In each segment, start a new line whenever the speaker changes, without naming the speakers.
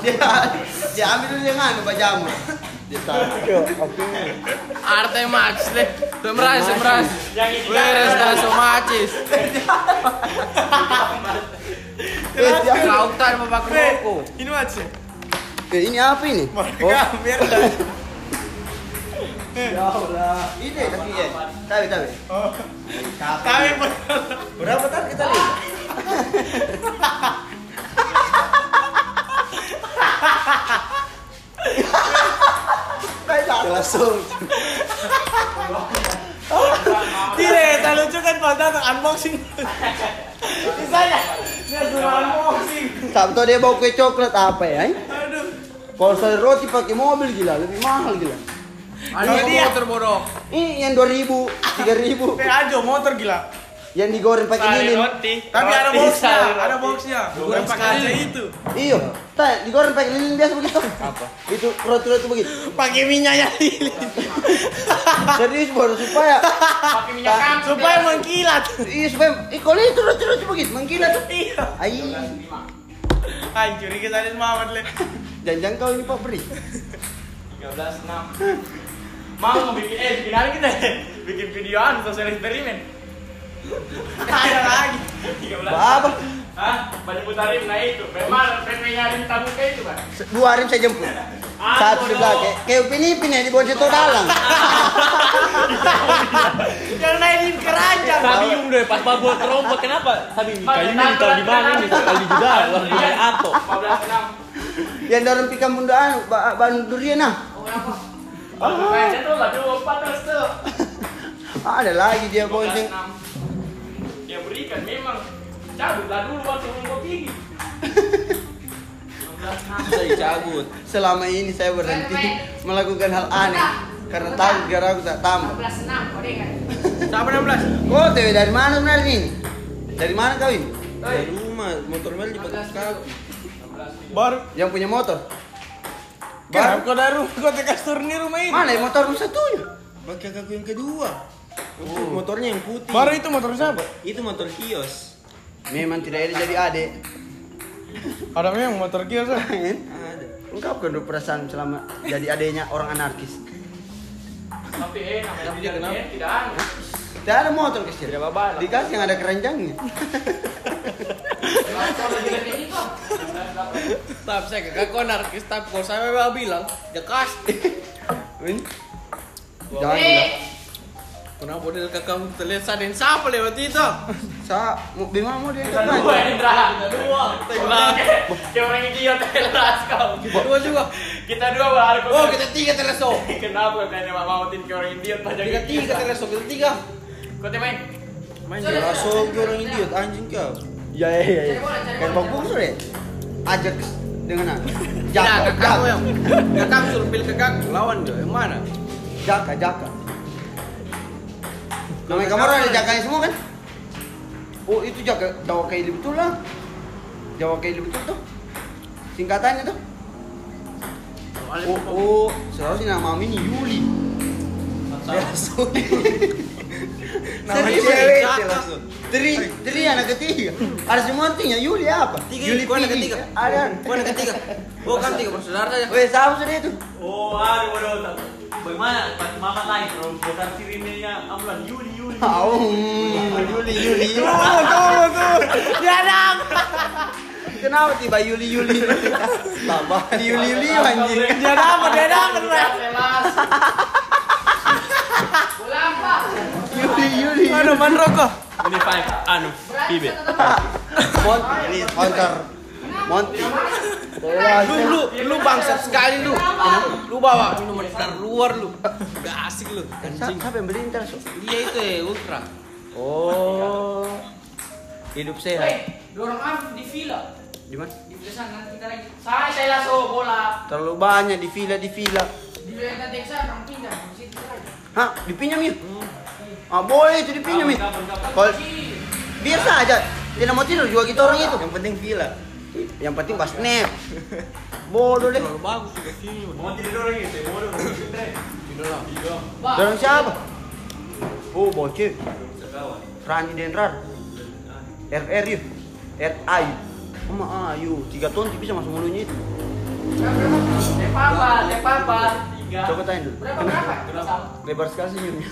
dia dia ambil dulu yang anu pajamu dia Eh, taruh
Arte Max deh. Demras, demras. Beres dah somacis.
eh, dia ambil.
Kau tak mau pakai rokok.
Ini aja.
Eh, ini apa ini Oh.
Mereka biar dah.
ini tapi ya tapi tapi
Oh. Tapi
berapa tadi kita lihat langsung
Tidak, tak lucu kan kalau datang unboxing. Misalnya, dia suruh unboxing.
tak tahu dia bawa kue coklat apa ya eh?
Aduh.
kalau saya roti pakai mobil gila lebih mahal gila
Ada
dia-
motor bodoh.
ini yang 2000 3000
Pe ajo motor gila.
yang digoreng pakai lilin
Tapi ada boxnya, ada boxnya. Bukan pakai aja itu.
Iya, tak digoreng pakai lilin biasa begitu. Apa? Itu roti roti begitu.
Pakai minyaknya lilin.
Serius baru supaya
Pakai minyak kamu.
Supaya mengkilat.
iya supaya eh, kalau itu roti roti begitu mengkilat.
Iya.
Ai,
Hancur ini tadi Muhammad le.
jangan kau ini pabrik.
13 6. Mau mau bikin eh bikin hari kita bikin videoan sosial eksperimen.
Ada lagi.
13.
Apa?
Hah? Banyak putarin nah itu. Memang pengen nyari tamu kayak itu kan.
Se- Dua hari saya jemput.
Ah,
Satu di
bodoh.
belakang. Kayak pinipin ya di bawah situ dalang.
Yang naik keranjang.
Sabium deh, pas babot rombot kenapa? Sabium kayunya ditaruh di mana nih? Kali juga, luar
Iya.
biasa ato.
14
Ah.
Yang dorong pikam bundaan, ba ban durian nah.
6. Oh, kayaknya tuh lah dua empat terus tuh.
Ada lagi dia bonceng.
14 6. Dia berikan memang cabutlah dulu waktu nunggu gigi. 15 6.
Saya cabut.
Selama ini saya berhenti melakukan hal aneh karena tahu gara aku tak tambah.
16 boleh kan?
Sampai 16.
Kau tewe dari mana sebenarnya ini? Dari mana kau ini?
Dari rumah, motor Mel di Batu Kapi.
Baru.
Yang punya motor?
Baru
Baru.
kau dari rumah kau tekas turun di rumah ini.
Mana yang motor satunya?
Pakai kakakku yang kedua. Oh, Motornya yang putih.
Baru itu motor siapa?
Itu motor kios.
Memang tidak ada jadi adik.
Ada memang motor kios. ah.
Ada.
Engkau kan ada perasaan selama jadi adiknya orang anarkis.
Tapi eh namanya tidak eh, tidak aneh.
Tidak ada motor kecil.
Tidak apa-apa.
Dikasih yang ada keranjangnya.
Tapi saya kakak kau narkis, tapi kau saya memang bilang, dekas.
Win. Jangan
Eh,
gila.
Kenapa model kakak terlihat saden siapa lewat itu?
Sa, mau bima mau dia
Kita dua Indra. Kita dua. Kayak orang idiot telas kau.
Dua juga.
Kita dua berharap.
Oh kita tiga tereso.
Kenapa kalian mau mautin ke orang idiot pada
Kita tiga tereso, kita tiga.
Kau temain.
Main
Iya,
Sudah,
jelas
sudah,
so,
sudah,
orang
sudah.
idiot anjing kau.
Ya ya ya.
Iya, Cari bola, cari bola,
Kan bang
cari
bungsu deh. Ajak dengan aku.
Nah,
Jaka,
kakak
jaka,
yang kakak suruh pilih kakak lawan dia yang mana?
jaka, jaka. Namanya kamar ada jakanya semua kan? Oh itu jaka, Jawa Kaili betul lah. Jawa Kaili betul tuh. Singkatannya tuh. Oh, oh, seharusnya nama Amin Yuli. Biasa.
Namanya
Serius
Yuli,
cewek
cakep.
itu langsung. Dari dari anak ketiga. Ada semua artinya Yuli apa?
Tiga,
Yuli
gua anak
Pidi.
ketiga.
Ada.
Gua anak ketiga. Gua kan tiga bersaudara saja.
Weh, siapa sudah itu?
Oh, aduh, aduh, aduh. Bagaimana? Mama lain, bro. Bukan kirimnya ambulan Yuli, Yuli.
Au, hmm, Yuli Yuli.
Tuh, tuh, tuh. Dia ada.
Kenapa tiba Yuli Yuli? Tambah Yuli Yuli anjing.
Dia dapat, dia dapat. Pak.
Telas.
bola apa?
Yuli Yuli.
Aduh, man rokok.
Ini five, anu, pibe.
Mont, monster. Monti.
Lu lu lu bangsat sekali lu. Lu bawa minuman dari luar lu. Gak asik lu.
Sa- Siapa yang beli ntar? Sob?
Iya itu ya ultra.
Oh. Hidup sehat.
Hei, dorong am di villa.
Di mana?
Di villa sana nanti kita lagi. Saya saya langsung bola.
Terlalu banyak di villa di villa.
Di villa kita teksa orang pindah. Di situ kita lagi.
Hah, dipinjam ya? Ah, boleh itu dipinjam ya. Kalau biasa aja, tidak mau tidur juga kita orang itu. Yang penting villa. Yang penting pas nap. Bodoh deh.
Terlalu bagus juga sini.
Mau tidur lagi, teh bodoh.
Tidur lah.
Ba,
Dorong siapa? Oh, bocil. ya? Rani Denrar. RR yuk. RI. Sama ah, ayo, tiga ton bisa masuk mulutnya itu.
Tepapa, tepapa, tiga.
Coba tanya dulu.
Berapa berapa?
Lebar sekali senyumnya.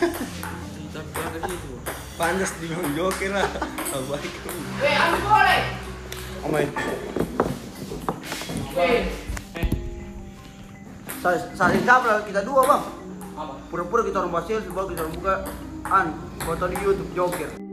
Panas di Joker lah. Assalamualaikum.
Eh, ambil boleh.
Oh my.
Eh,
Sa- Saling kabar kita dua bang.
apa?
Pura-pura kita orang Basel, sebab kita orang buka an. Foto di YouTube Joker.